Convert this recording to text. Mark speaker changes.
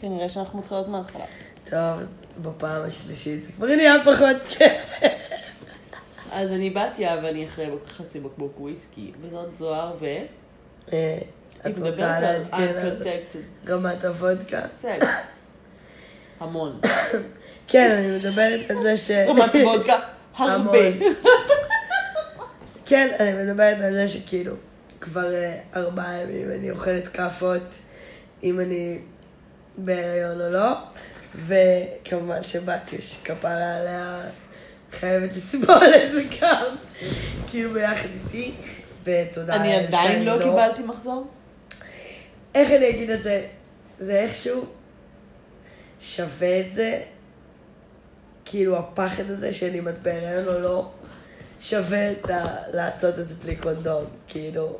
Speaker 1: כנראה שאנחנו מתחילות מההתחלה.
Speaker 2: טוב, אז בפעם השלישית זה כבר נהיה פחות כיף.
Speaker 1: אז אני בתיה ואני אחרי בק- חצי בקבוק וויסקי, וזאת זוהר ו...
Speaker 2: אה,
Speaker 1: היא
Speaker 2: את
Speaker 1: מדברת
Speaker 2: רוצה
Speaker 1: על
Speaker 2: לעדכן על
Speaker 1: unprotected
Speaker 2: רמת הוודקה?
Speaker 1: sex. המון.
Speaker 2: כן, אני מדברת על זה ש...
Speaker 1: רמת וודקה, הרבה.
Speaker 2: המון. כן, אני מדברת על זה שכאילו, כבר אה, ארבעה ימים אני אוכלת כאפות, אם אני בהיריון או לא, וכמובן שבתיה שכפרה עליה חייבת לסבול את זה גם, כאילו ביחד איתי, ותודה
Speaker 1: אני
Speaker 2: לאל
Speaker 1: עדיין
Speaker 2: שאני
Speaker 1: לא קיבלתי מחזור?
Speaker 2: איך אני אגיד את זה? זה איכשהו שווה את זה, כאילו הפחד הזה שאני אם את בהיריון או לא, שווה את ה... לעשות את זה בלי קונדום, כאילו.